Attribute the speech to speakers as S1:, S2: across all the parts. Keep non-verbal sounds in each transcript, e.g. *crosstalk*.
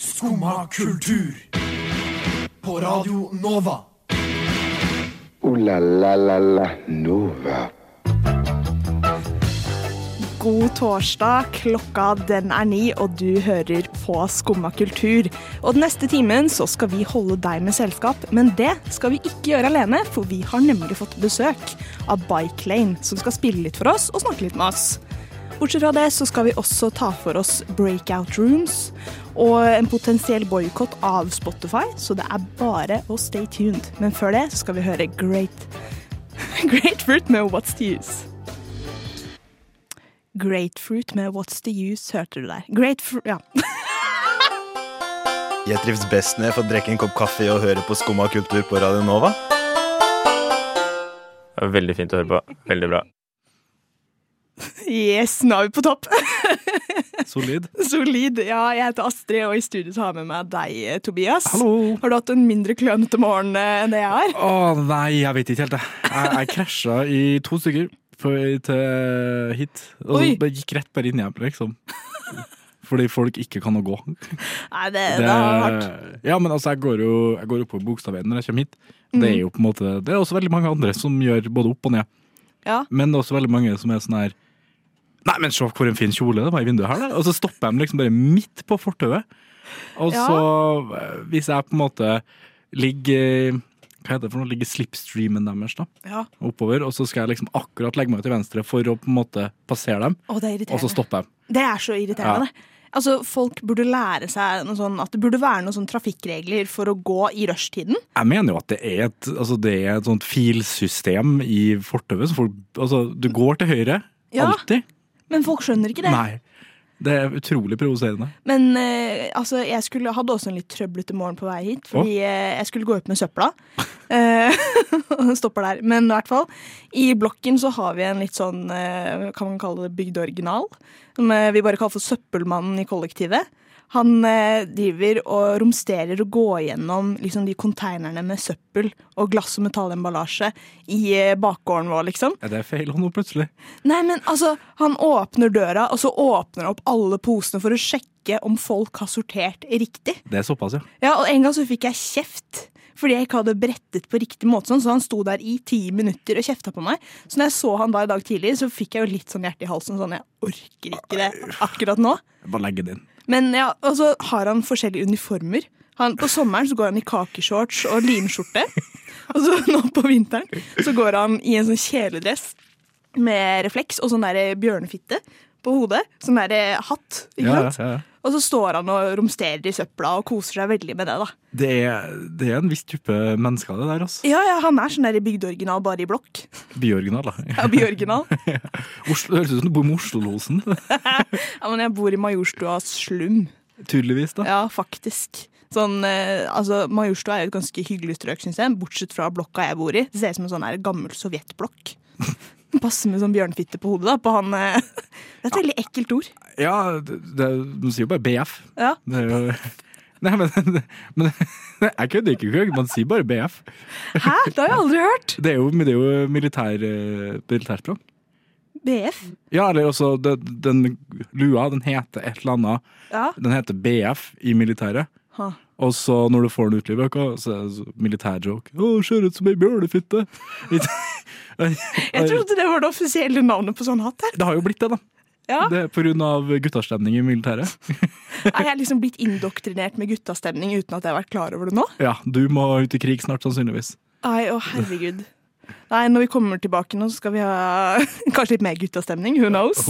S1: Skumma kultur. På Radio Nova.
S2: Ooh la la la la Nova.
S3: God torsdag, klokka den er ni, og du hører på Skumma kultur. Og den neste timen så skal vi holde deg med selskap, men det skal vi ikke gjøre alene, for vi har nemlig fått besøk av Bike Lane, som skal spille litt for oss og snakke litt med oss. Bortsett fra det så skal vi også ta for oss breakout rooms og en potensiell boikott av Spotify, så det er bare å stay tuned. Men før det så skal vi høre Great, *laughs* Great Fruit med What's the Use. Grapefruit med What's the Use, hørte du der. Grapefruit, ja. *laughs*
S4: Jeg trives best når jeg får drikke en kopp kaffe og høre på Skumma kultur på Radio Nova.
S5: Det er Veldig fint å høre på. Veldig bra.
S3: Yes, nå er vi på topp. *laughs*
S6: Solid.
S3: Solid. Ja, jeg heter Astrid, og i studio så har jeg med meg deg, eh, Tobias. Har du hatt en mindre klønete morgen eh, enn det jeg har?
S6: Å nei, jeg vet ikke helt det. Jeg, jeg krasja i to stykker på vei til hit. Og så
S3: Oi.
S6: bare gikk rett bare inn hjem, liksom. Fordi folk ikke kan å
S3: *laughs*
S6: gå.
S3: Nei, det,
S6: Det-
S3: det er hardt.
S6: ja, men altså, jeg går jo jeg går opp på Bogstadveien når jeg kommer hit. Det
S3: Mm.
S6: er jo på en måte Det er også veldig mange andre som gjør både opp og ned.
S3: Ja.
S6: Men det er også veldig mange som er sånn her Nei, men se hvor en fin kjole det var i vinduet her, da. Og så stopper de liksom bare midt på fortauet. Og
S3: Ja.
S6: så, eh, hvis jeg på en måte ligger Hva heter det for noe? Ligger slipstreamen deres, da.
S3: Ja.
S6: Oppover. Og så skal jeg liksom akkurat legge meg til venstre for å på en måte passere dem,
S3: Å, det er
S6: og så
S3: irriterende.
S6: stopper jeg.
S3: Det er så irriterende.
S6: Ja.
S3: Altså, Folk burde lære seg noe sånn, at det burde være noen sånn trafikkregler for å gå i rushtiden.
S6: Jeg mener jo at det er et, altså det er et sånt filsystem i fortauet. så folk- Altså, du går til høyre.
S3: Ja.
S6: Alltid.
S3: Men folk skjønner ikke det.
S6: Nei. Det er utrolig provoserende.
S3: Men eh, altså, jeg skulle, hadde også en litt trøblete morgen på vei hit, fordi eh, jeg skulle gå ut med søpla. *laughs* Eh, *laughs* og den stopper der. Men i hvert fall, i blokken så har vi en litt sånn, eh, kan man kalle det bygdeoriginal, som eh, vi bare kaller for søppelmannen i kollektivet. Han eh, driver og romsterer og går gjennom liksom, de konteinerne med søppel og glass- og metallemballasje i eh, bakgården vår, liksom.
S6: Er det feil nå, plutselig?
S3: Nei, men altså, han åpner døra, og så åpner han opp alle posene for å sjekke om folk har sortert riktig.
S6: Det er såpass, ja.
S3: Ja, og en gang så fikk jeg kjeft. Fordi jeg ikke hadde brettet på riktig måte, sånn, så han sto der i ti minutter og kjefta på meg. Så når jeg så han da i dag tidlig, så fikk jeg jo litt sånn hjerte i halsen. Sånn, jeg orker ikke det akkurat nå.
S6: Bare legge det inn.
S3: Men ja, og så har han forskjellige uniformer. Han, på sommeren så går han i kakeshorts og linskjorte. Og så nå på vinteren så går han i en sånn kjeledress med refleks og sånn der bjørnefitte på hodet. Sånn der hatt. ikke
S6: Ja,
S3: sant?
S6: ja, ja.
S3: Og så står han og romsterer i søpla og koser seg veldig med det. da.
S6: Det er, det er en viss type mennesker, det der. altså.
S3: Ja, ja, Han er sånn der bygdeoriginal bare i blokk.
S6: Byoriginal, da.
S3: Ja, byoriginal.
S6: *laughs* Oslo, det høres ut som du bor med Oslo-losen. *laughs*
S3: Ja, men jeg bor i Majorstuas slum.
S6: Tydeligvis, da.
S3: Ja, faktisk. Sånn, eh, altså, Majorstua er jo et ganske hyggelig strøk, syns jeg, bortsett fra blokka jeg bor i. Det ser ut som en sånn her gammel sovjetblokk. Passer med sånn bjørnfitte på hodet da, på han eh. Det er et veldig ekkelt ord.
S6: Ja, det, det- De sier jo bare BF.
S3: Ja.
S6: Det er jo... *laughs* Nei, men, men Jeg kødder ikke, kødder ikke, man sier bare BF.
S3: Hæ? Det har jeg aldri hørt!
S6: Det er jo, det er jo militær, eh, militærspråk.
S3: BF.
S6: Ja, eller også det, den lua, den heter et eller annet.
S3: Ja.
S6: Den heter BF i militæret.
S3: Ha.
S6: Og så når du får den utlevert, så er det så- militærjoke. Å, ser ut som ei bjørnefitte! *laughs*
S3: Jeg trodde det var det offisielle navnet på sånn hatt her.
S6: Det har jo blitt det, da.
S3: Ja.
S6: Det er Pga. guttastemning i militæret.
S3: Er jeg liksom blitt indoktrinert med guttastemning uten at jeg har vært klar over det nå?
S6: Ja, du må ut i krig snart, sannsynligvis.
S3: Nei, å herregud. Nei, når vi kommer tilbake nå, så skal vi ha *laughs* kanskje litt mer guttastemning. Who knows?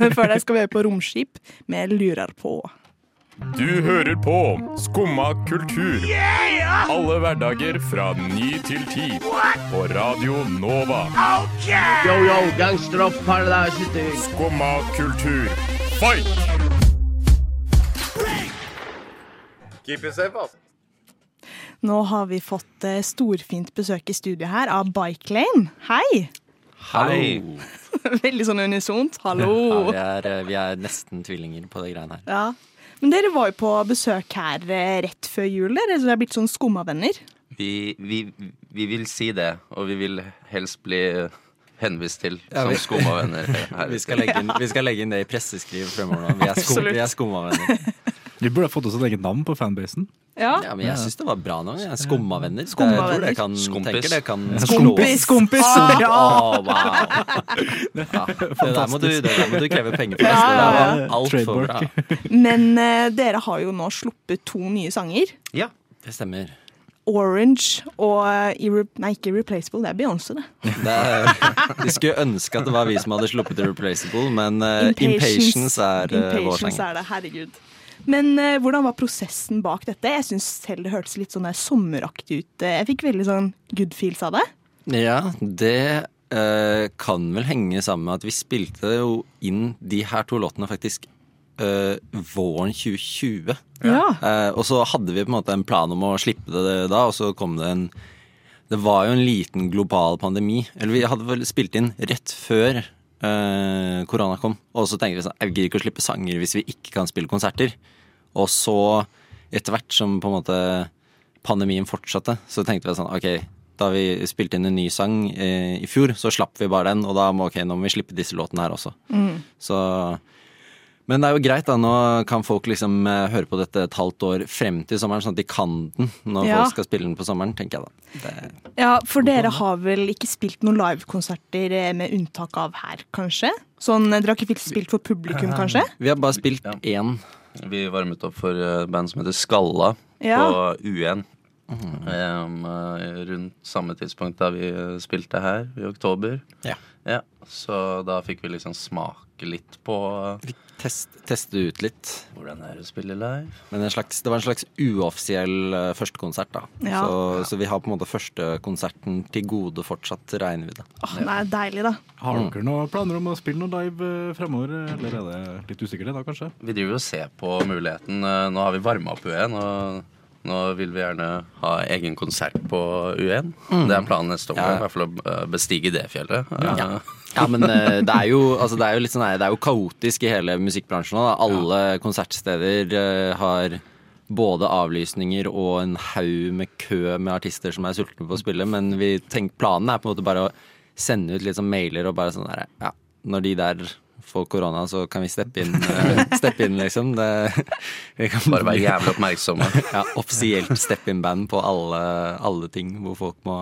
S3: Men før det skal vi høre på Romskip med Lurer på.
S7: Du hører på Skumma kultur. Alle hverdager fra ny til ti. På Radio Nova.
S8: Yo, yo, gangsterrapp, paradise.
S7: Skumma kultur. Fight!
S3: Nå har vi fått eh, storfint besøk i studio her av Bike Lane. Hei! *laughs*
S9: Hei!
S3: Veldig sånn unisont. Hallo!
S9: Vi er, eh, vi er nesten tvillinger på det greiene her.
S3: Ja. Men dere var jo på besøk her eh, rett før jul, dere, så dere er blitt sånn skummavenner.
S9: Vi, vi, vi vil si det, og vi vil helst bli eh, henvist til
S8: Ja,
S9: som
S8: vi-
S9: skumma *laughs* venner. her.
S8: Vi skal, legge inn, vi skal legge inn det i presseskriv fremover nå. Vi er, skum,
S3: Absolutt.
S8: vi er skumma venner.
S6: Vi burde ha fått oss et eget navn på fanbasen.
S3: Ja.
S10: Ja, men jeg syns det var bra nå. Jeg er Skummavenner. Det- Jeg
S3: Skummavenner.
S10: tror det kan,
S9: Skompis.
S10: tenker det kan
S6: Skompis! Skompis!
S10: Å,
S9: *laughs*
S10: wow. Ja, det, der må du, det der må du kreve penger for.
S3: Ja, ja, ja.
S10: Det var alt for bra.
S3: Men eh, dere har jo nå sluppet to nye sanger.
S9: Ja.
S10: Det stemmer.
S3: Orange og eh, Irre Nei, ikke Replaceable, det er Beyoncé, det.
S10: Det er, vi skulle ønske at det var vi som hadde sluppet Irreplaceable, men eh, Impatience er eh, vår
S3: Impatience
S10: sang.
S3: er det, herregud. Men eh, hvordan var prosessen bak dette? Jeg syns selv det hørtes litt sånn der sommeraktig ut. Jeg fikk veldig sånn good feels av det.
S10: Ja, det eh, kan vel henge sammen med at vi spilte jo inn de her to låtene faktisk eh, våren 2020.
S3: Ja.
S10: Eh, og så hadde vi på en måte en plan om å slippe det da, og så kom det en Det var jo en liten global pandemi. Eller vi hadde vel spilt inn rett før eh, korona kom. Og så tenker vi sånn, jeg gidder ikke å slippe sanger hvis vi ikke kan spille konserter. Og så, etter hvert som på en måte pandemien fortsatte, så tenkte vi sånn, ok, da vi spilte inn en ny sang eh, i fjor, så slapp vi bare den, og da må, ok, nå må vi slippe disse låtene her også. Så men det er jo greit, da. Nå kan folk liksom eh, høre på dette et halvt år frem til sommeren, sånn at de kan den når
S3: Ja.
S10: folk skal spille den på sommeren, tenker jeg da. Det,
S3: ja, for dere har vel ikke spilt noen livekonserter eh, med unntak av her, kanskje? Sånn, eh, Dere har ikke spilt for publikum, kanskje?
S10: vi har bare spilt én.
S9: Vi varmet opp for eh, band som heter Skalla
S3: Ja.
S9: på UN.
S10: Mhm.
S9: Em, eh, rundt samme tidspunkt da vi eh, spilte her, i oktober.
S10: Ja.
S9: så da fikk vi liksom smake litt på eh,
S10: Test, teste ut litt.
S9: hvordan det er å spille live.
S10: Men en slags, det var en slags uoffisiell eh, førstekonsert, da.
S3: Ja.
S10: Så, så vi har på en måte førstekonserten til gode fortsatt, regner vi da.
S3: Åh, det er deilig, da.
S6: Har dere noen planer om å spille noe live eh, fremover, eller er det litt usikkert i dag, *laughs* kanskje?
S9: Vi driver jo og ser på muligheten. Eh, Nå har vi varma opp UN, og nå vil vi gjerne ha egen konsert på UN. Det er planen neste år,
S10: Mhm. Ja.
S9: i hvert fall å eh, bestige det fjellet. Eh,
S10: Ja, men eh, det er jo, altså, det er jo litt sånn, nei, det er jo kaotisk i hele musikkbransjen nå. Da. Alle konsertsteder eh, har både avlysninger og en haug med kø med artister som er sultne på å spille, men vi tenk, planen er på en måte bare å sende ut litt sånn mailer og bare sånn der, ja, når de der får korona, så kan vi steppe inn, eh, steppe inn liksom. Det, vi kan
S9: Bare være jævlig oppmerksomme.
S10: *laughs* Ja, offisielt steppe inn-band på alle, alle ting hvor folk må,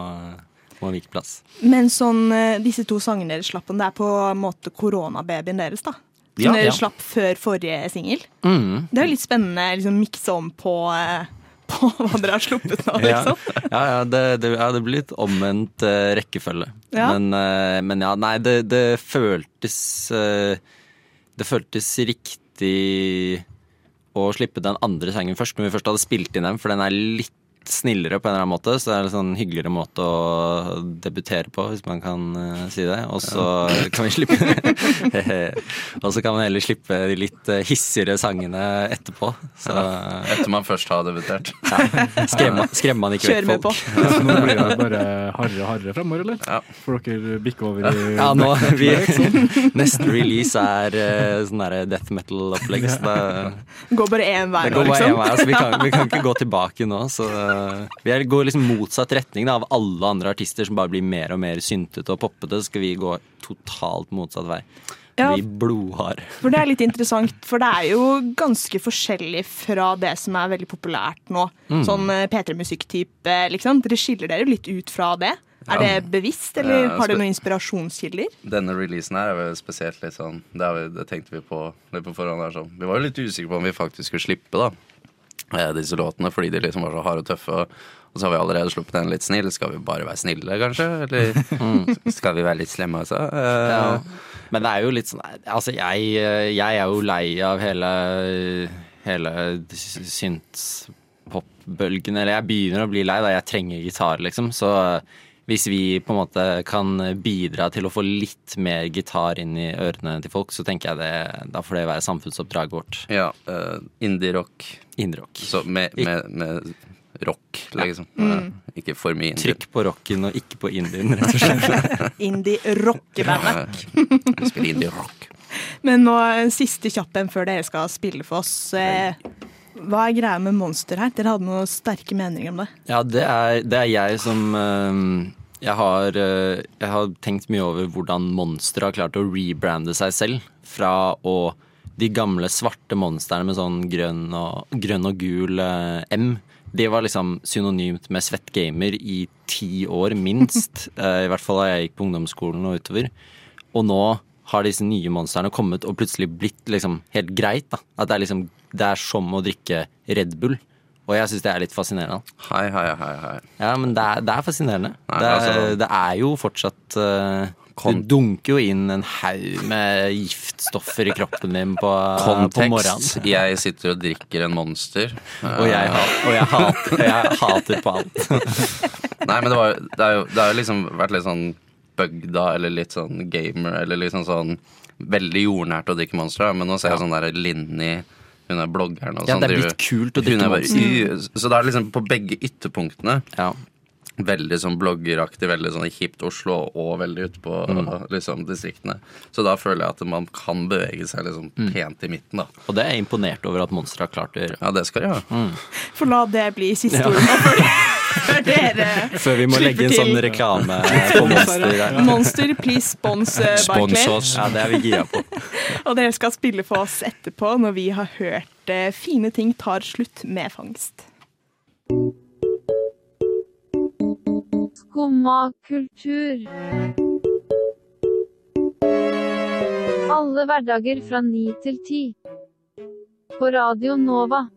S10: må vike plass.
S3: Men sånn, eh, disse to sangene dere slapp om, det er på en måte koronababyen deres, da? Som
S10: Ja, Mm.
S3: dere
S10: ja.
S3: slapp før forrige singel? Det er jo litt spennende å liksom, mikse om på, eh, *laughs* på hva dere har sluppet nå,
S10: *laughs* Ja,
S3: liksom.
S10: ja, ja, det, det, ja det blir litt omvendt eh, rekkefølge.
S3: Ja.
S10: Men, eh, men ja, nei, det, det føltes eh, Det føltes riktig å slippe den andre sangen først, når vi først hadde spilt inn den, for den er litt snillere på en eller annen måte, så det er en sånn hyggeligere måte å debutere på, hvis man kan eh, si det. Og så kan vi slippe *laughs* Og så kan man heller slippe de litt eh, hissigere sangene etterpå. Så
S9: Etter man først har debutert.
S10: skremmer man, skremmer man ikke
S3: Kjører
S10: vekk
S3: med
S10: folk.
S3: på.
S6: Så nå blir det bare harre harre fremover, eller?
S9: Ja.
S6: Får dere bikke over i
S10: *laughs* Ja, nå, vi, neste release er eh, sånn derre death metal-opplegg. Så det,
S3: Går bare én vei
S10: det
S3: nå,
S10: går bare én
S3: liksom.
S10: vei. Altså, vi, kan, vi kan ikke gå tilbake nå. Så eh, vi er, går liksom motsatt retning da, av alle andre artister som bare blir mer og mer syntete og poppete. Så skal vi gå totalt motsatt vei.
S3: Ja.
S10: Bli blodhard.
S3: *laughs* For det er litt interessant, for det er jo ganske forskjellig fra det som er veldig populært nå.
S10: Mm.
S3: Sånn eh, P3-musikktype, liksom. Dere skiller dere jo litt ut fra det. Er det bevisst, eller
S10: Eh,
S9: Ja,
S3: har
S9: spe-
S3: dere noen inspirasjonskilder?
S9: Denne releasen her er vel spesielt litt sånn Det, er, vi- det tenkte vi på litt på forhånd. Der, sånn. Vi var jo litt usikre på om vi faktisk skulle slippe da eh, disse låtene, fordi de liksom var så harde og tøffe. Og, og så har vi allerede sluppet en litt snill. Skal vi bare være snille, kanskje? Eller
S10: *laughs*
S9: skal vi være litt slemme også? Eh,
S10: Men det er jo litt sånn Altså, jeg, jeg er jo lei av hele, hele synt-pop-bølgen. Eller jeg begynner å bli lei, da. Jeg trenger gitar, liksom. Så hvis vi på en måte kan bidra til å få litt mer gitar inn i ørene til folk, så tenker jeg det Da får det være samfunnsoppdraget vårt.
S9: ja. eh, Indie-rock.
S10: Indrock.
S9: Så med, med, med rock, liksom. Eh, Ikke for mye indie.
S10: Mm. Trykk på rocken og ikke på indien, rett og slett.
S3: Indie-rockebandet.
S9: Vi spiller indie-rock.
S3: Men nå en siste kjapp en før dere skal spille for oss. Eh, Hva er greia med Monster her? Dere hadde noen sterke meninger om det.
S10: Ja, det er, det er jeg som øhm, jeg, har, øh, jeg har tenkt mye over hvordan Monster har klart å rebrande seg selv fra å de gamle svarte monstrene med sånn grønn og, grønn og gul eh, M. De var liksom synonymt med svettgamer i ti år, minst. Eh, I hvert fall da jeg gikk på ungdomsskolen og utover. Og nå har disse nye monstrene kommet og plutselig blitt liksom helt greit. da. At det er liksom, det er som å drikke Red Bull. Og jeg syns det er litt fascinerende.
S9: Hei, hei, hei. hei.
S10: Ja, men det er, det er fascinerende.
S9: Nei,
S10: det, er,
S9: altså-
S10: det er jo fortsatt eh,
S9: Kon-
S10: Du dunker jo inn en haug med giftstoffer i kroppen din på, på
S9: Kontekst.
S10: morgenen.
S9: Jeg sitter og drikker en monster.
S10: Og jeg, ha- og jeg, hater, jeg hater på alt.
S9: Nei, men det, var, det, er jo, det har jo liksom vært litt sånn bøgda eller litt sånn gamer eller liksom sånn Veldig jordnært å drikke Monster, da, men nå ser jeg sånn der Linni hun er bloggeren og
S10: Ja,
S9: sånn.
S10: det er
S9: driver-
S10: blitt kult å
S9: hun
S10: drikke
S9: er bare,
S10: Monster.
S9: "Y", Så det er liksom på begge ytterpunktene.
S10: Ja.
S9: Veldig sånn bloggeraktig, veldig sånn hipt Oslo og veldig ute på
S10: Mm.
S9: liksom, distriktene. Så da føler jeg at man kan bevege seg liksom
S10: Mm.
S9: pent i midten, da.
S10: Og det er jeg imponert over at Monster har klart å gjøre.
S9: Ja, det skal jeg
S10: Mm.
S9: gjøre.
S3: For la det bli siste ordet nå, før, før dere
S10: Før vi må
S3: Slipper
S10: legge en sånn
S3: til.
S10: reklame
S3: *laughs*
S10: på Monster. her.
S3: Monster, please sponsor
S10: Spons
S3: Barclay.
S10: oss. Ja, det er vi gira på.
S3: Og dere skal spille for oss etterpå, når vi har hørt eh, Fine ting tar slutt med fangst.
S11: Skumma kultur. Alle hverdager fra ni til ti. På Radio Nova.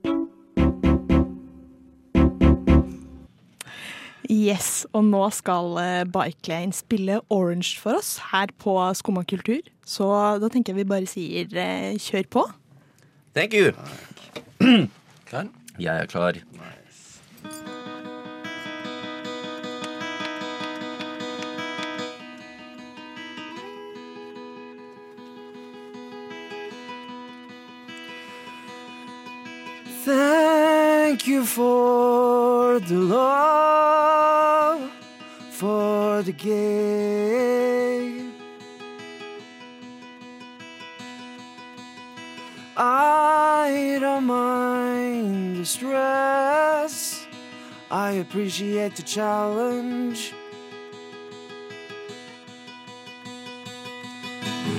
S3: Yes, og nå skal eh, Bikelane spille Orange for oss her på Skumma kultur. Så da tenker jeg vi bare sier eh, kjør på.
S9: Thank you. Jeg er klar.
S12: Thank you for the love, for the gay. I don't mind the stress. I appreciate the challenge.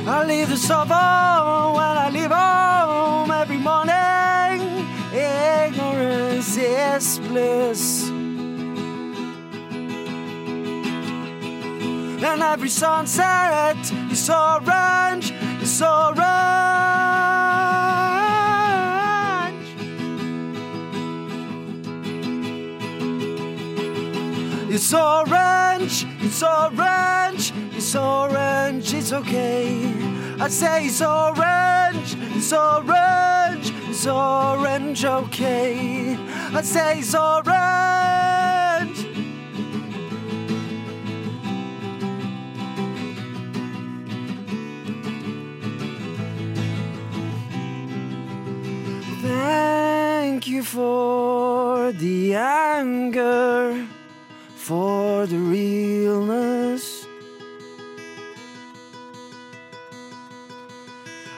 S12: I leave the suburb when I leave home every morning. Ignorance is bliss. And every sunset is orange, is orange. It's orange, it's orange, it's orange, it's okay. I say it's orange, it's orange, it's orange, okay. I say it's orange. Thank you for the anger for the realness.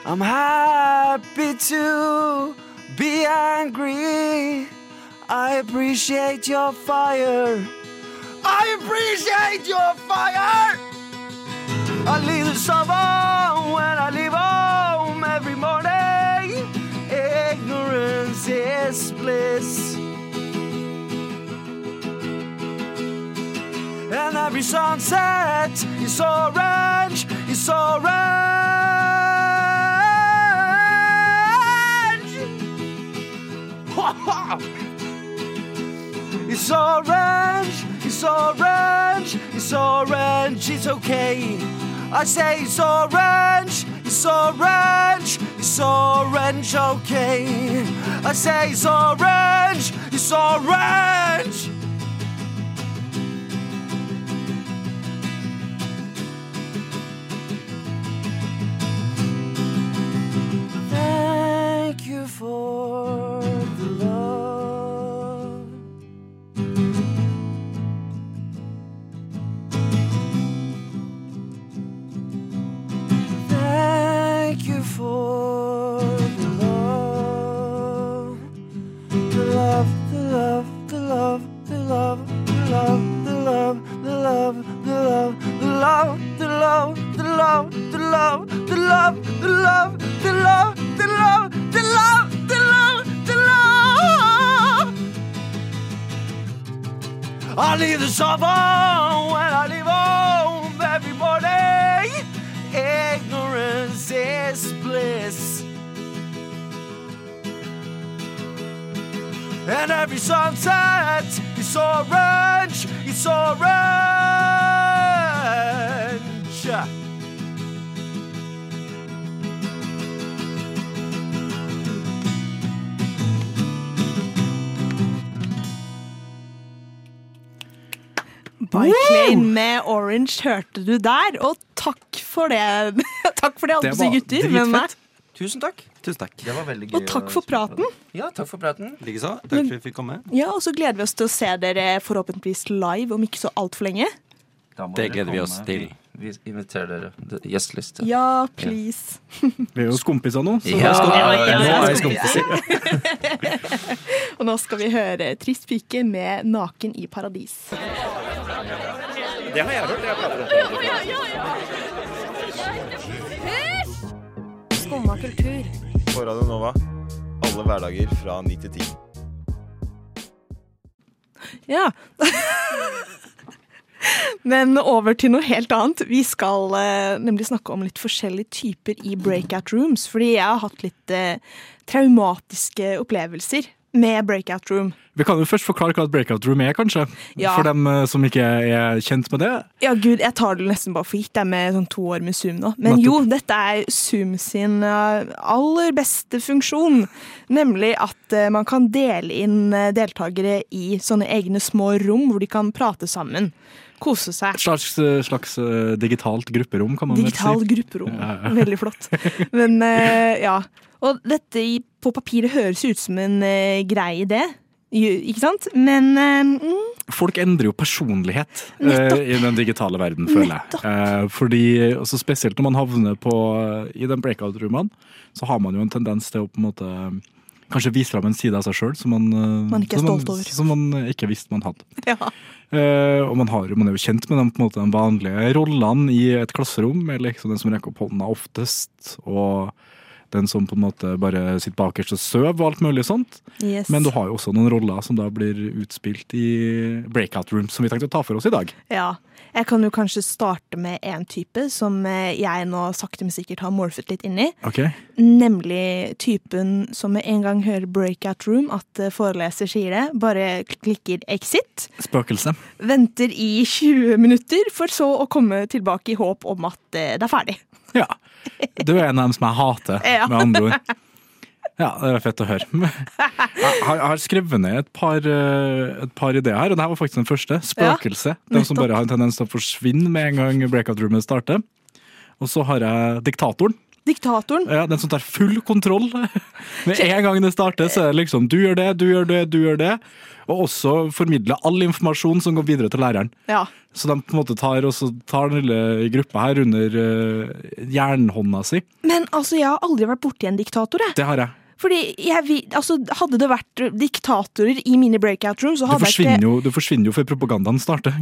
S12: I'm happy to be angry. I appreciate your fire. I appreciate your fire. I leave the summer when I leave home every morning. Ignorance is bliss. And every sunset is orange, is orange. it's orange, it's orange, it's orange, it's okay. I say it's orange, it's orange, it's orange, okay. I say it's orange, it's orange. Thank you for the love. Thank you for the love. The love, the love, the love, the love, the love, the love, the love, the love, the love, the love, the love, the love, the love, the love, the love, the love. I leave the suburb when I leave home every morning. Ignorance is bliss. And every sunset is orange, it's orange.
S3: By Klein med Orange hørte du der, og takk for det. *laughs* takk for det, alle disse gutter. med meg.
S9: Tusen takk. Det var veldig gøy.
S3: Og takk for praten.
S9: Ja, takk for praten.
S10: Likeså. Takk for at vi fikk komme.
S3: Ja, og så gleder vi oss til å se dere forhåpentligvis live om ikke så altfor lenge.
S9: Da må
S10: Det
S9: dere
S10: gleder vi
S9: komme.
S10: oss til.
S9: Vi vi inviterer dere. Det- Gjesteliste.
S3: Ja, please.
S6: Vi er jo skompiser nå. så-
S9: Ja,
S3: ja,
S6: nå er jeg
S9: skompiser.
S6: skompiser.
S3: og nå skal vi høre Trist pike med Naken i paradis.
S12: Det har jeg hørt. Jeg
S13: Skumma kultur.
S4: På Radio Nova. Alle hverdager fra 9 til 10.
S3: Ja. *laughs* Men over til noe helt annet. Vi skal eh, nemlig snakke om litt forskjellige typer i breakout rooms. Fordi jeg har hatt litt eh, traumatiske opplever med breakout room.
S6: Vi kan jo først forklare hva et breakout room er, kanskje.
S3: Ja.
S6: For dem eh, som ikke er kjent med det.
S3: Ja, gud, jeg tar det nesten bare for gitt. Det er med sånn to år med Zoom nå. Men jo, dette er Zoom sin eh, aller beste funksjon. Nemlig at eh, man kan dele inn eh, deltakere i sånne egne små rom hvor de kan prate sammen. Kose
S6: Et
S3: seg.
S6: slags, eh, slags eh, digitalt grupperom, kan man
S3: Digital
S6: vel si.
S3: grupperom.
S6: Ja, ja.
S3: Veldig flott.
S6: *laughs*
S3: Men eh, ja. Og dette i, på papiret høres ut som en eh, grei idé, Ju- ikke sant? Men eh, mm,
S6: Folk endrer jo personlighet eh,
S3: Nettopp.
S6: i den digitale verden, føler jeg. Eh, fordi, altså Spesielt når man havner på, i den breakout-roomene, så har man jo en tendens til å på en måte kanskje vise fram en side av seg sjøl som man, eh,
S3: Man ikke er
S6: som
S3: stolt over.
S6: Som man ikke visste man hadde.
S3: ja.
S6: Eh, og man, har, jo- man er jo kjent med de, på en måte, de vanlige rollene i et klasserom, med liksom den som rekker opp hånda oftest, og den som på en måte bare sitter bakerst og søv og alt mulig sånt.
S3: Yes.
S6: Men du har jo også noen roller som da blir utspilt i breakout rooms, som vi tenkte å ta for oss i dag.
S3: Ja. Jeg kan jo kanskje starte med en type som eh, jeg nå sakte, men sikkert har morfet litt inn i.
S6: Ok?
S3: Nemlig typen som med en gang hører breakout room, at eh, foreleser sier det, bare kl- klikker exit,
S6: Spøkelse.
S3: venter i 20 minutter, for så å komme tilbake i håp om at eh, det er ferdig.
S6: Ja. Du er en av dem som jeg hater,
S3: *laughs* Ja.
S6: med andre ord. Ja, det er fett å høre. *laughs* Jeg har, jeg har skrevet ned et par, eh, et par ideer her, og det her var faktisk den første. Spøkelse.
S7: Ja,
S6: de som bare har en tendens til å forsvinne med en gang breakout roomet starter. Og så har jeg diktatoren.
S3: Diktatoren?
S6: Ja, Den som tar full kontroll. *laughs* Med en gang det starter, så er det liksom du gjør det, du gjør det, du gjør det. Og også formidle all informasjon som går videre til læreren.
S3: Ja.
S6: Så de på en måte tar, og så tar den lille gruppa her under eh, jernhånda si.
S3: Men altså, jeg har aldri vært borti en diktator, jeg.
S6: Det har jeg.
S3: Fordi jeg, vil- altså, hadde det vært diktatorer i mine breakout room, så
S6: Du
S3: hadde
S6: forsvinner,
S3: jeg ikke
S6: jo, du forsvinner jo før propagandaen starter.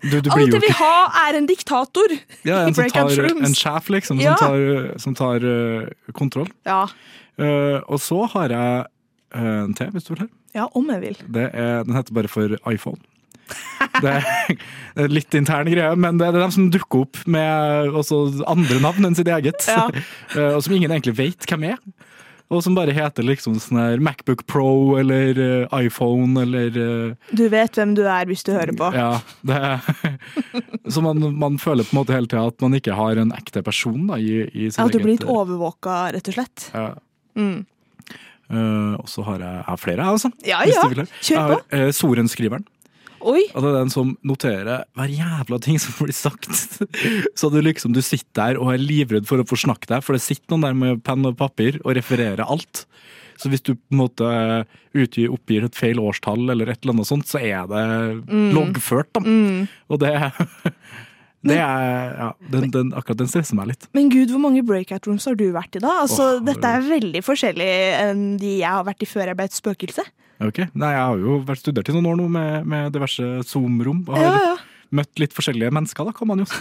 S6: Du, du blir
S3: Alt
S6: jo
S3: jeg vil
S6: ikke
S3: ha, er en diktator
S6: ja,
S3: i
S6: en, som
S3: breakout
S6: tar,
S3: rooms.
S6: en sjef, liksom,
S3: Ja.
S6: som tar, som tar eh, kontroll.
S3: Ja.
S6: Eh, og så har jeg eh, en til, hvis du vil ha.
S3: ja, om jeg vil.
S6: Det er, den heter bare for iPhone. Det er, det er litt intern greie, men det er dem som dukker opp med også andre navn enn sitt eget.
S7: Ja.
S6: *laughs* Eh, Og som ingen egentlig vet hvem er. Og som bare heter liksom sånn her Macbook Pro eller eh, iPhone eller eh,
S3: Du vet hvem du er hvis du hører på.
S6: Ja, det er, *laughs* Så man, man føler på en måte hele tida at man ikke har en ekte person da, i, i sitt
S3: Ja, du blir litt
S6: eget eh,
S3: overvåka, rett og slett.
S6: ja.
S3: Mm.
S6: Eh, Og så har jeg, jeg har flere, jeg, altså.
S3: Ja,
S6: hvis
S3: ja.
S6: du vil ha.
S3: Kjør på.
S6: Jeg har eh, Sorenskriveren.
S3: Oi.
S6: Og det er den som noterer hver jævla ting som blir sagt. *laughs* Så du liksom du sitter der og er livredd for å forsnakke deg, for det sitter noen der med penn og papir og refererer alt. Så hvis du på en måte utgir, oppgir et feil årstall eller et eller annet sånt, så er det
S7: Mm.
S6: loggført, da.
S3: Mm.
S6: Og det, *laughs* det er Ja, den, den, akkurat den stresser meg litt.
S3: Men gud, hvor mange breakout rooms har du vært i da? Altså,
S6: Åh,
S3: dette er veldig forskjellig enn de jeg har vært i før jeg ble et spøkelse.
S6: Ok, Nei, jeg har jo vært studert i noen år nå med, med diverse Zoom-rom. Og har
S3: Ja, ja.
S6: møtt litt forskjellige mennesker, da, kan man jo si.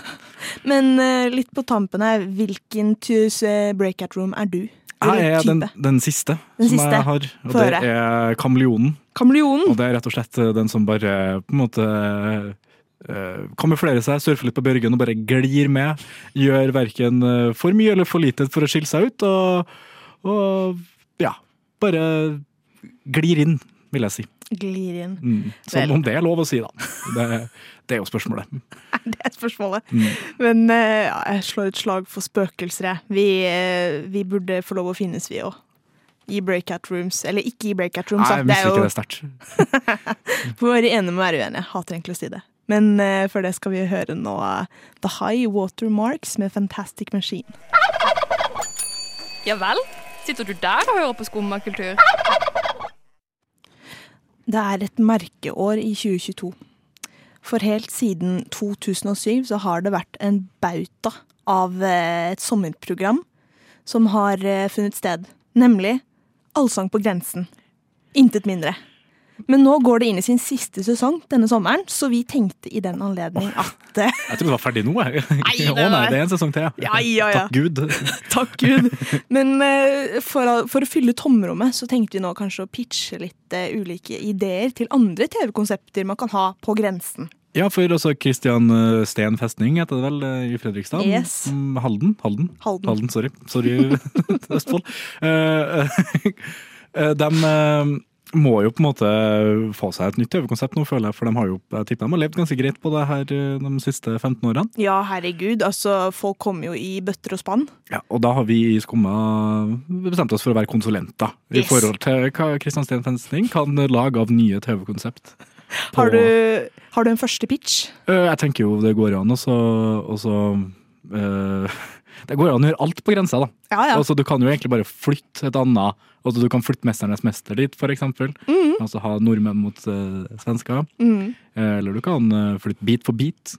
S3: Men eh, litt på tampen her, hvilken tus- eh, breakout room er du?
S6: Jeg er den,
S3: type?
S6: den siste
S3: Den
S6: som
S3: siste.
S6: jeg har, og
S3: Få
S6: det
S3: høre.
S6: er kameleonen.
S3: Kameleonen?
S6: Og det er rett og slett eh, den som bare på en måte eh, kamuflerer seg, surfer litt på bjørgen og bare glir med. Gjør verken eh, for mye eller for lite for å skille seg ut, og, og ja, bare glir inn, vil jeg si.
S3: Glir inn.
S6: Mm. Som
S3: Vel.
S6: om det er lov å si, da. Det, det er jo spørsmålet.
S3: *laughs* Det er spørsmålet.
S6: Mm.
S3: Men eh, ja, jeg slår et slag for spøkelser, jeg. Vi, eh, vi burde få lov å finnes, vi òg. I breakout rooms. Eller ikke i breakout rooms.
S6: Nei,
S3: da.
S6: jeg misliker det sterdt.
S3: Vi må være enige med å være uenige. Hater egentlig å si det. Men eh, før det skal vi høre nå eh, The High Watermarks med Fantastic Machine.
S13: Ja vel? Sitter du der og hører på skummakultur?
S3: Det er et merkeår i 2022. For helt siden 2007 så har det vært en bauta av eh, et sommerprogram som har eh, funnet sted. Nemlig Allsang på grensen. Intet mindre. Men nå går det inn i sin siste sesong denne sommeren, så vi tenkte i den anledning at eh,
S6: Jeg trodde det var ferdig nå, jeg.
S3: Nei,
S6: *laughs* Å nei,
S3: nei.
S6: det er en sesong til,
S3: *laughs* Ja, ja, ja.
S6: Takk Gud.
S3: Takk Gud. Men eh, for, å- for å fylle tomrommet så tenkte vi nå kanskje å pitche litt eh, ulike ideer til andre TV-konsepter man kan ha på grensen.
S6: Ja, for altså Christian eh, Steen festning heter det vel eh, i Fredrikstad?
S3: Yes.
S6: Mm, Halden? Halden,
S3: Halden.
S6: sorry. Sorry, *laughs* Østfold. Eh, *laughs* eh, de eh, må jo på en måte få seg et nytt TV-konsept nå, føler jeg. For de har jo, jeg tipper de har levd ganske greit på det her eh, de siste 15 årene.
S3: Ja, herregud. Altså, folk kommer jo i bøtter og spann.
S6: Ja, og da har vi i Skumma bestemt oss for å være konsulenter i
S3: Yes.
S6: forhold til hva Christian Steen Fensting kan lage av nye TV-konsept. På-
S3: Har du, har du en første pitch?
S6: Eh, Jeg tenker jo det går an å så- og så eh, *laughs* Det går an å gjøre alt på grensa, da.
S3: Ja, ja.
S6: Altså, du kan jo egentlig bare flytte et annet altså, Du kan flytte 'Mesternes mester' dit, for eksempel.
S3: Mhm.
S6: Altså ha nordmenn mot eh, svensker.
S3: Mhm.
S6: Eh, eller du kan eh, flytte bit for bit.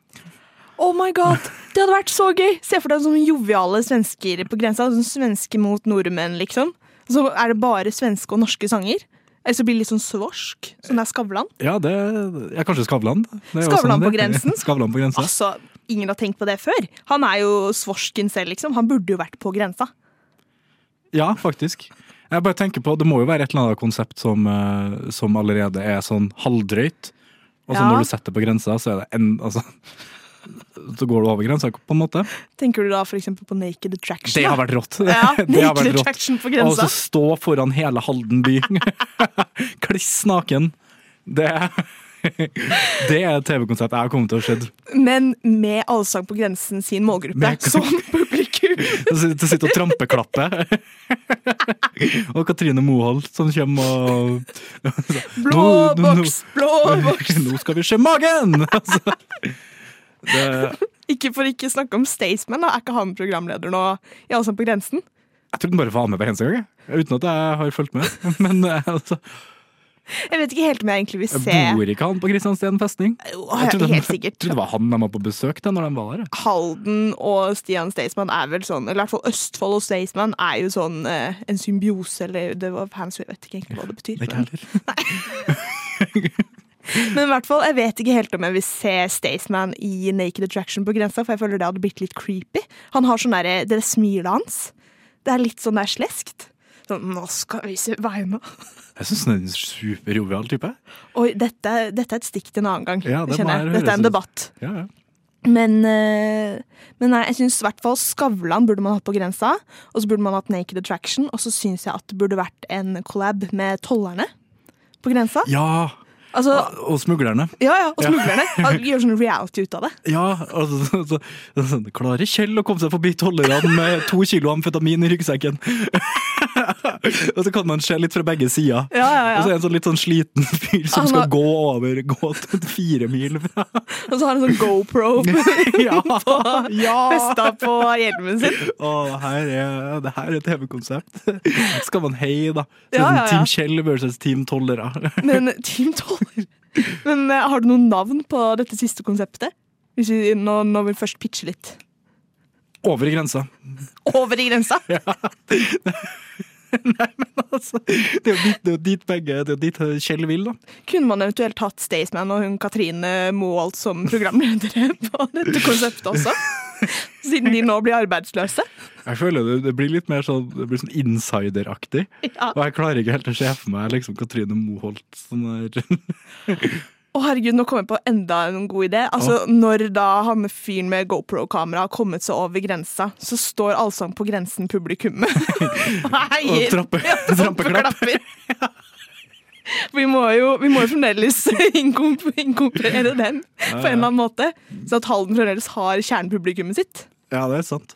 S3: Oh my god, det hadde vært så gøy! Se for deg sånne joviale svensker på grensa. Sånn svenske mot nordmenn, liksom. Så er det bare svenske og norske sanger. Eller så blir det litt sånn svorsk, sånn der Skavlan.
S6: Ja, det Ja, kanskje Skavlan. Det er jo
S3: Skavlan
S6: sånn
S3: på
S6: det-
S3: grensen?
S6: *laughs* Skavlan på grensa.
S3: Altså, ingen har tenkt på det før. Han er jo svorsken selv, liksom. Han burde jo vært på grensa.
S6: Ja, faktisk. Jeg bare tenker på, Det må jo være et eller annet konsept som, eh, som allerede er sånn halvdrøyt. Og så
S3: Ja.
S6: når du setter på grensa, så er det en altså, Så går du over grensa, på en måte.
S3: Tenker du da for eksempel på Naked Attraction?
S6: Det har
S3: da?
S6: vært rått.
S3: Ja,
S6: *laughs* Det har vært
S3: Naked
S6: rått.
S3: Attraction på
S6: Og
S3: grensa.
S6: så stå foran hele Halden by, *laughs* kliss naken. Det, *laughs* det er et TV-konsept jeg har kommet til å se.
S3: Men med Allsang på grensen sin målgruppe. Som *laughs* publikum!
S6: Til å sitte og trampeklappe. *laughs* Og Katrine Moholt som kommer og
S3: Blå
S6: Nå- nå- nå-
S3: boks, blå boks!
S6: Nå skal vi se magen! *laughs* Altså, det,
S3: Ikke for ikke snakke om Staysman, da. Er ikke han programleder nå i Allsang på grensen?
S6: jeg tror den bare var med hver eneste gang, jeg. uten at jeg har fulgt med. Men eh, altså,
S3: Jeg vet ikke helt om jeg egentlig vil se
S6: bor ikke han på Kristiansten festning?
S3: ja,
S6: trodde-
S3: helt sikkert.
S6: jeg trodde det var han de var på besøk til når de var der.
S3: Halden og Stian Staysman er vel sånn, eller i hvert fall Østfold og Staysman er jo sånn eh, en symbiose, eller det var fans, jeg vet ikke egentlig hva det betyr.
S6: Ikke
S3: men-
S6: heller.
S3: Men i hvert fall, jeg vet ikke helt om jeg vil se Staysman i Naked Attraction på grensa, for jeg føler det hadde blitt litt creepy. Han har sånn derre Det smilet hans. Det er litt sånn der sleskt. Sånn, nå skal vi se beina.
S6: Jeg syns han er en superjovial type.
S3: Oi, dette, dette er et stikk til en annen gang.
S6: Ja, det
S3: kjenner jeg.
S6: bare
S3: Dette er
S6: høres ut.
S3: en debatt.
S6: Ja, ja.
S3: Men, eh, men nei, jeg syns i hvert fall Skavlan burde man hatt på grensa. Og så burde man hatt Naked Attraction, og så syns jeg at det burde vært en collab med Tollerne på grensa.
S6: Ja,
S3: Altså,
S6: og smuglerne.
S3: ja, ja, og
S6: Ja.
S3: smuglerne. Al- Gjør sånn reality ut av det.
S6: Ja, altså, så, så, sånn, Klarer Kjell å komme seg forbi tollerne med to kilo amfetamin i ryggsekken? *laughs* og så kan man se litt fra begge sider.
S3: Ja, ja, ja.
S6: Og så er det en sånn litt sånn sliten fyr som
S3: Han
S6: skal
S3: har-
S6: gå over gå til fire mil *laughs* fra
S3: Og så har han sånn GoPro
S6: *laughs* ja,
S3: *laughs* på,
S6: ja.
S3: festa på hjelmen sin.
S6: Å, her er, det her er et TV-konsept. *laughs* Skal man heie, da? Så
S3: Ja, ja,
S6: sånn
S3: ja.
S6: Team Kjell versus Team Tollere. *laughs*
S3: Men Team Toller Men eh, har du noen navn på dette siste konseptet? Hvis vi nå, nå vil først pitche litt.
S6: Over grensa. *laughs*
S3: Over i grensa!
S6: Det er jo dit, det er jo dit begge Det er jo dit Kjell vil, da.
S3: Kunne man eventuelt hatt Staysman og hun Katrine Moholt som programledere på dette konseptet også? Siden de nå blir arbeidsløse.
S6: Jeg føler det, det blir litt mer sånn, det blir sånn insideraktig.
S3: *laughs* Ja.
S6: Og jeg klarer ikke helt å se for meg liksom, Katrine Moholt sånn *laughs* der.
S3: Å herregud, nå kom jeg på enda en god idé. Altså, Når da han fyren med GoPro-kamera har kommet seg over grensa, så står Allsang på grensen
S6: *laughs*
S3: publikummet.
S6: Og
S3: *laughs*
S6: trappe-
S3: sånn trappeklapper. *laughs* Vi må jo vi må jo fremdeles *laughs* inkom- inkorporere den
S6: Ja,
S3: på en eller
S6: ja.
S3: annen måte. Så at Halden fremdeles har kjernepublikummet sitt.
S6: Ja, det er sant.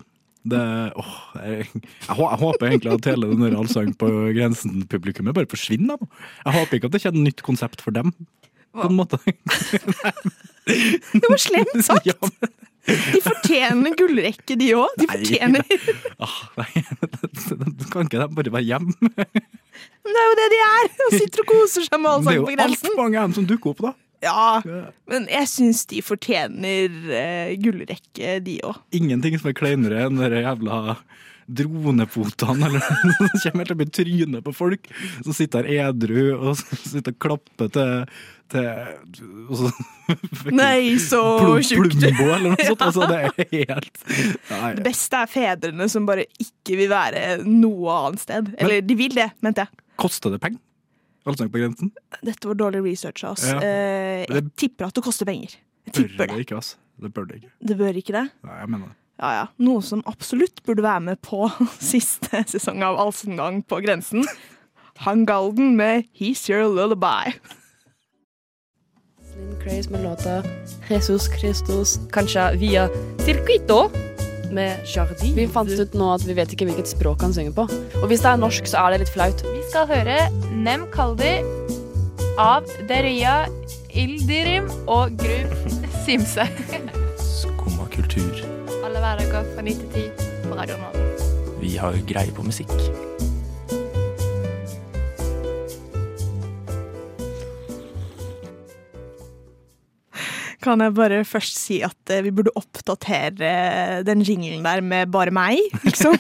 S6: Det, åh, jeg, jeg, hå- jeg håper egentlig at hele den der allsang på grensen-publikummet bare forsvinner. nå. Jeg håper ikke at det kommer et nytt konsept for dem. På en måte.
S3: Det var slemt
S6: *laughs*
S3: sagt! De fortjener gullrekke, de òg. De fortjener
S6: Ah, nei, *laughs* kan ikke de bare være hjemme?
S3: Men det er jo det de er! Og sitter og koser seg med
S6: Det er
S3: allsang
S6: jo
S3: på
S6: altfor
S3: grensen.
S6: mange av dem som dukker opp, da.
S3: Ja, men jeg syns de fortjener eh, gullrekke, de òg.
S6: Ingenting som er kleinere enn de jævla dronepotene eller *laughs* noe som kommer helt opp i trynet på folk som sitter her edru og som sitter og klapper til, til og så,
S3: *laughs* Nei, så
S6: Plum-
S3: tjukt.
S6: Plumbo eller noe sånt. Altså,
S3: *laughs*
S6: det er helt Nei.
S3: Det beste er fedrene som bare ikke vil være noe annet sted. Eller de vil det, mente jeg.
S6: Koster det penger? Allsang på grensen?
S3: Dette var dårlig research av oss.
S6: Ja.
S3: Eh, jeg
S6: Det-
S3: tipper at det koster penger. Jeg
S6: Bør
S3: tipper
S6: det
S3: det.
S6: ikke, altså. Det bør det ikke.
S3: Det bør ikke det.
S6: Nei, jeg mener det.
S3: Ja, ja. Noe som absolutt burde være med på *laughs* siste sesong av Allsengang på grensen. Han Galden med He's Your Lullaby.
S14: Craze med låta Jesus Christus, kanskje via Circuito med Jardin. Vi fant ut nå at vi vet ikke hvilket språk han synger på. Og hvis det er norsk, så er det litt flaut.
S15: Vi skal høre Nem Kaldi av Deria Ildirim og Grub Simse.
S16: Skumma kultur.
S15: Alle hverdager fra 9 til 10 på Radio Nova.
S16: Vi har greie på musikk.
S3: Kan jeg bare først si at eh, vi burde oppdatere eh, den jinglen der med bare meg, liksom.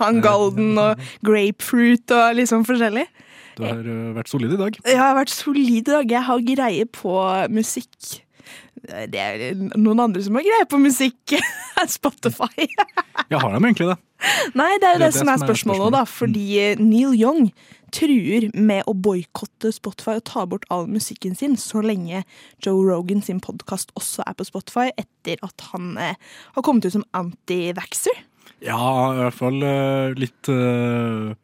S3: Han Golden og grapefruit og liksom forskjellig.
S6: Du har øh, vært solid i dag.
S3: Jeg har vært solid i dag. Jeg har greie på musikk. Det er noen andre som har greie på musikk. *laughs* Spotify.
S6: Ja, har de egentlig det?
S3: Nei, det er jo det, som er spørsmålet nå,
S6: spørsmålet. Mm.
S3: da. Fordi Neil Young truer med å boikotte Spotify og ta bort all musikken sin så lenge Joe Rogan sin podkast også er på Spotify, etter at han eh, har kommet ut som anti-vaxxer.
S6: Ja, i hvert fall øh, litt øh,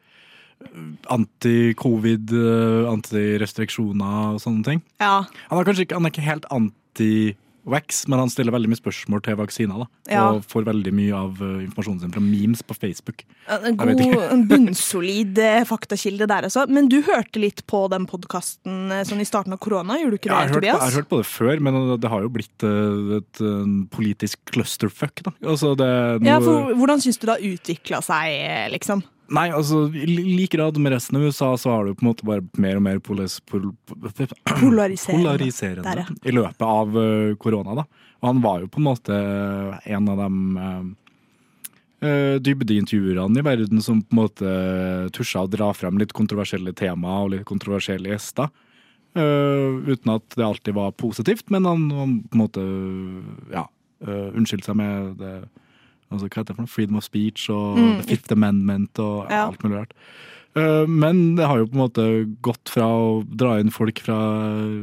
S6: anti-covid, øh, anti-restriksjoner og sånne ting.
S3: Ja.
S6: Han er kanskje ikke, han er ikke helt anti-vax, men han stiller veldig mye spørsmål til vaksiner. da.
S3: Ja.
S6: Og får veldig mye av øh, informasjonen sin fra memes på Facebook.
S3: En
S6: Jeg vet
S3: god,
S6: ikke.
S3: en bunnsolid eh, faktakilde der, altså. Men du hørte litt på den podkasten sånn i starten av korona, gjorde du ikke
S6: Ja,
S3: det,
S6: jeg, har hørt på, jeg har
S3: Tobias?
S6: hørt på det før, men det har jo blitt eh, et eh, politisk clusterfuck. Da. Altså, det, er
S3: Ja,
S6: noe-
S3: for Hvordan syns du det har utvikla seg, eh, liksom?
S6: Nei, altså, i li- like grad med resten av USA så har det jo på en måte bare mer og mer polis, pol, *clears throat*
S3: Polariserende.
S6: polariserende
S3: Der, ja.
S6: i løpet av eh, korona. da. Og han var jo på en måte en av de eh, eh, dybdeintervjuerne i verden som på en måte eh, tusja å dra frem litt kontroversielle temaer og litt kontroversielle gjester. Eh, uten at det alltid var positivt, men han, han på en måte ja, eh, unnskyldte seg med det altså, Hva heter det for noe? Freedom of speech og
S17: Mm.
S6: The Fifth Amendment og
S17: Ja.
S6: alt mulig rart. Eh, men det har jo på en måte gått fra å dra inn folk fra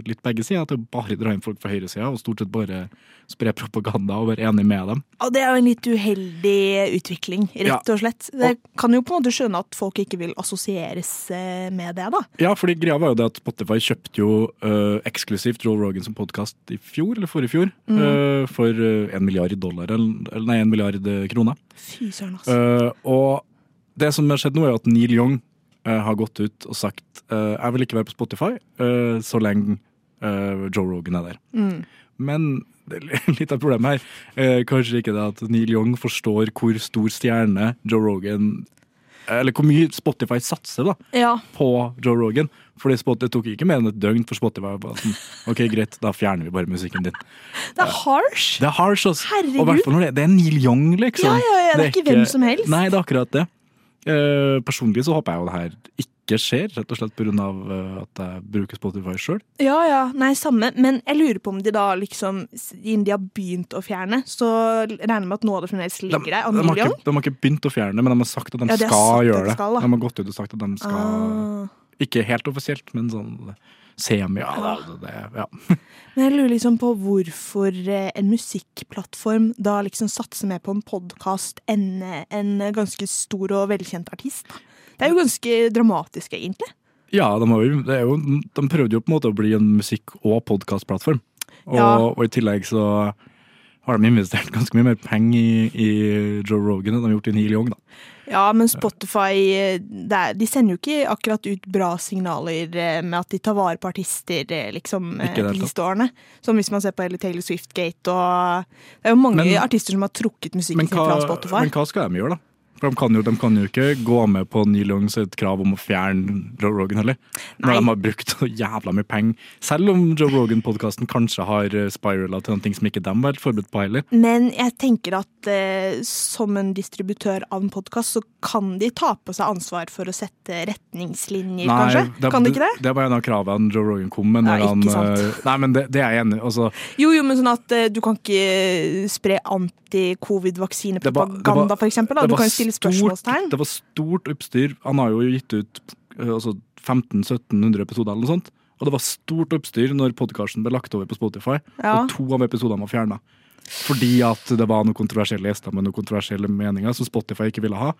S6: litt begge sider til å bare dra inn folk fra høyresida og stort sett bare spre propaganda og være enig med dem.
S3: Og det er jo en litt uheldig utvikling,
S6: Ja.
S3: rett og slett. Jeg kan jo på en måte skjønne at folk ikke vil assosieres eh, med det, da.
S6: Ja, fordi greia var jo det at Spotify kjøpte jo eh, eksklusivt Joe Rogan som podkast i fjor, eller forrige fjor,
S3: Mm.
S6: eh, for eh, en milliard dollar, eller, eller nei, en milliard eh, kroner.
S3: Fy søren, altså.
S6: Eh, og det som har skjedd nå, er at Neil Young eh, har gått ut og sagt eh, jeg vil ikke være på Spotify eh, så lenge eh, Joe Rogan er der.
S17: Mm.
S6: Men det er *laughs* litt av problemet her. Eh, kanskje ikke det at Neil Young forstår hvor stor stjerne Joe Rogan Eller hvor mye Spotify satser da
S3: Ja.
S6: på Joe Rogan. Fordi Spot- Det tok ikke mer enn et døgn for Spotify. å Bare sånn, ok, greit, da fjerner vi bare musikken din.
S3: Det er harsh.
S6: Det er harsh, ass.
S3: Herregud.
S6: Og i hvert fall når det, det er Neil Young, liksom.
S3: Ja, ja, ja, det er ikke hvem som helst.
S6: Nei, det er akkurat det. Eh, personlig så håper jeg jo det her ikke ikke skjer, rett og slett pga. eh, at jeg bruker Spotify sjøl.
S3: Ja, ja, nei, samme. Men jeg lurer på om de da liksom Siden de har begynt å fjerne, så regner jeg med at noe av det fremdeles
S6: De,
S3: ligger
S6: de,
S3: der.
S6: har ikke-
S3: Annulion?
S6: de har ikke begynt å fjerne, men de har sagt at de
S3: Ja, de har sagt
S6: skal
S3: at de
S6: gjøre det.
S3: skal, da.
S6: de har gått ut og sagt at de skal
S3: Ah.
S6: Ikke helt offisielt, men sånn semi.
S3: Ah.
S6: Ja, det, det, ja.
S3: Men jeg lurer liksom på hvorfor eh, en musikkplattform da liksom satser mer på en podkast enn eh, en ganske stor og velkjent artist. Det er jo ganske dramatisk, egentlig.
S6: ja de, har jo, det er jo, de prøvde jo på en måte å bli en musikk- og podkastplattform. Og,
S3: Ja.
S6: og i tillegg så har de investert ganske mye mer penger i, i Joe Rogan enn de har gjort i Neil Young. da.
S3: Ja, men Spotify eh, det er, De sender jo ikke akkurat ut bra signaler eh, med at de tar vare på artister eh, liksom, eh,
S6: Ikke i det hele
S3: de siste årene. Som hvis man ser på hele Taylor Swift-gate og Det er jo mange
S6: Men-
S3: artister som har trukket musikken
S6: Men
S3: sin fra
S6: hva,
S3: Spotify.
S6: men hva skal de gjøre, da? For de kan, jo, de kan jo ikke gå med på Neil Young sitt krav om å fjerne Joe Rogan heller. Når
S3: Nei.
S6: de har brukt så jævla mye penger. Selv om Joe Rogan-podkasten kanskje har eh, spirala til noe som ikke de var helt forberedt på heller.
S3: Men jeg tenker at eh, som en distributør av en podkast, så kan de ta på seg ansvar for å sette retningslinjer, kanskje?
S6: det-
S3: kan de ikke det?
S6: Det var en av kravene Joe Rogan kom med. Når
S3: Ja, ikke
S6: han,
S3: sant.
S6: eh, Nei, men det, det er jeg enig i. Altså,
S3: Jo, jo, men sånn at eh, du kan ikke spre
S6: det var-
S3: anti-covid-vaksinepropaganda, for eksempel. Da. Du
S6: det var
S3: kan jo stille
S6: stort-
S3: spørsmålstegn.
S6: Det var stort oppstyr. Han har jo gitt ut eh, altså 1500-1700 episoder eller noe sånt. Og det var stort oppstyr når podkasten ble lagt over på Spotify,
S3: Ja.
S6: og to av episodene var fjerna. Fordi at det var noen kontroversielle gjester med noen kontroversielle meninger som Spotify ikke ville ha.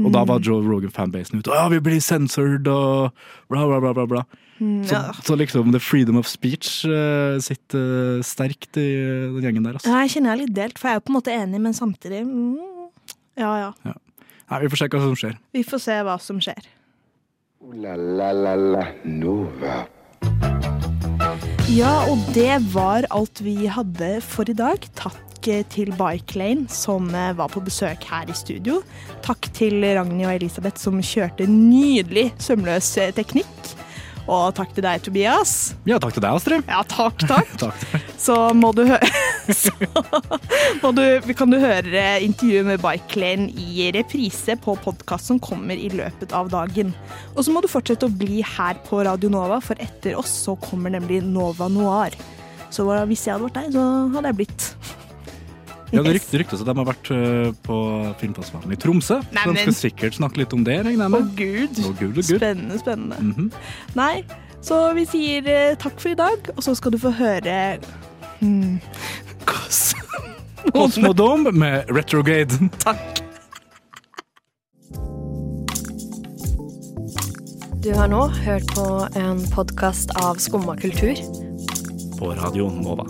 S6: Og da var Joe Rogan-fanbasen ute. «Å, vi blir sensored og bla, bla, bla. bla, bla.
S3: Mm,
S6: Så,
S3: ja.
S6: så liksom the freedom of speech eh, sitter sterkt i den gjengen der. Altså.
S3: Ja, jeg kjenner jeg er litt delt, for jeg er jo på en måte enig, men samtidig mm, Ja ja.
S6: Nei, vi får se hva som skjer.
S3: Vi får se hva som skjer.
S2: La-la-la-la Nova.
S3: Ja, og det var alt vi hadde for i dag. Takk eh, til Bike Lane, som eh, var på besøk her i studio. Takk til Ragnhild og Elisabeth, som kjørte nydelig sømløs eh, teknikk. Og takk til deg, Tobias.
S6: Ja, takk til deg, Astrid.
S3: Ja, takk, takk.
S6: Takk til deg.
S3: Så må du høre *laughs* Så må du, kan du høre intervjuet med Bike Lane i reprise på podkast som kommer i løpet av dagen. Og så må du fortsette å bli her på Radio Nova, for etter oss så kommer nemlig Nova Noir. Så hva- hvis jeg hadde vært deg, så hadde jeg blitt.
S6: *laughs* Ja, det ryktes ryktes at de har vært øh, på filmfestivalen i Tromsø.
S3: Nei,
S6: så de
S3: men-
S6: skal sikkert snakke litt om det, regner jeg
S3: Å
S6: med.
S3: *laughs* gud.
S6: Å, gud, å, gud.
S3: Spennende, spennende.
S6: Mhm.
S3: Nei, så vi sier eh, takk for i dag, og så skal du få høre hmm, Kos-
S6: Kosmodom med Retrograde. Takk.
S17: Du har nå hørt på en podkast av Skumma kultur.
S16: På radioen Nova.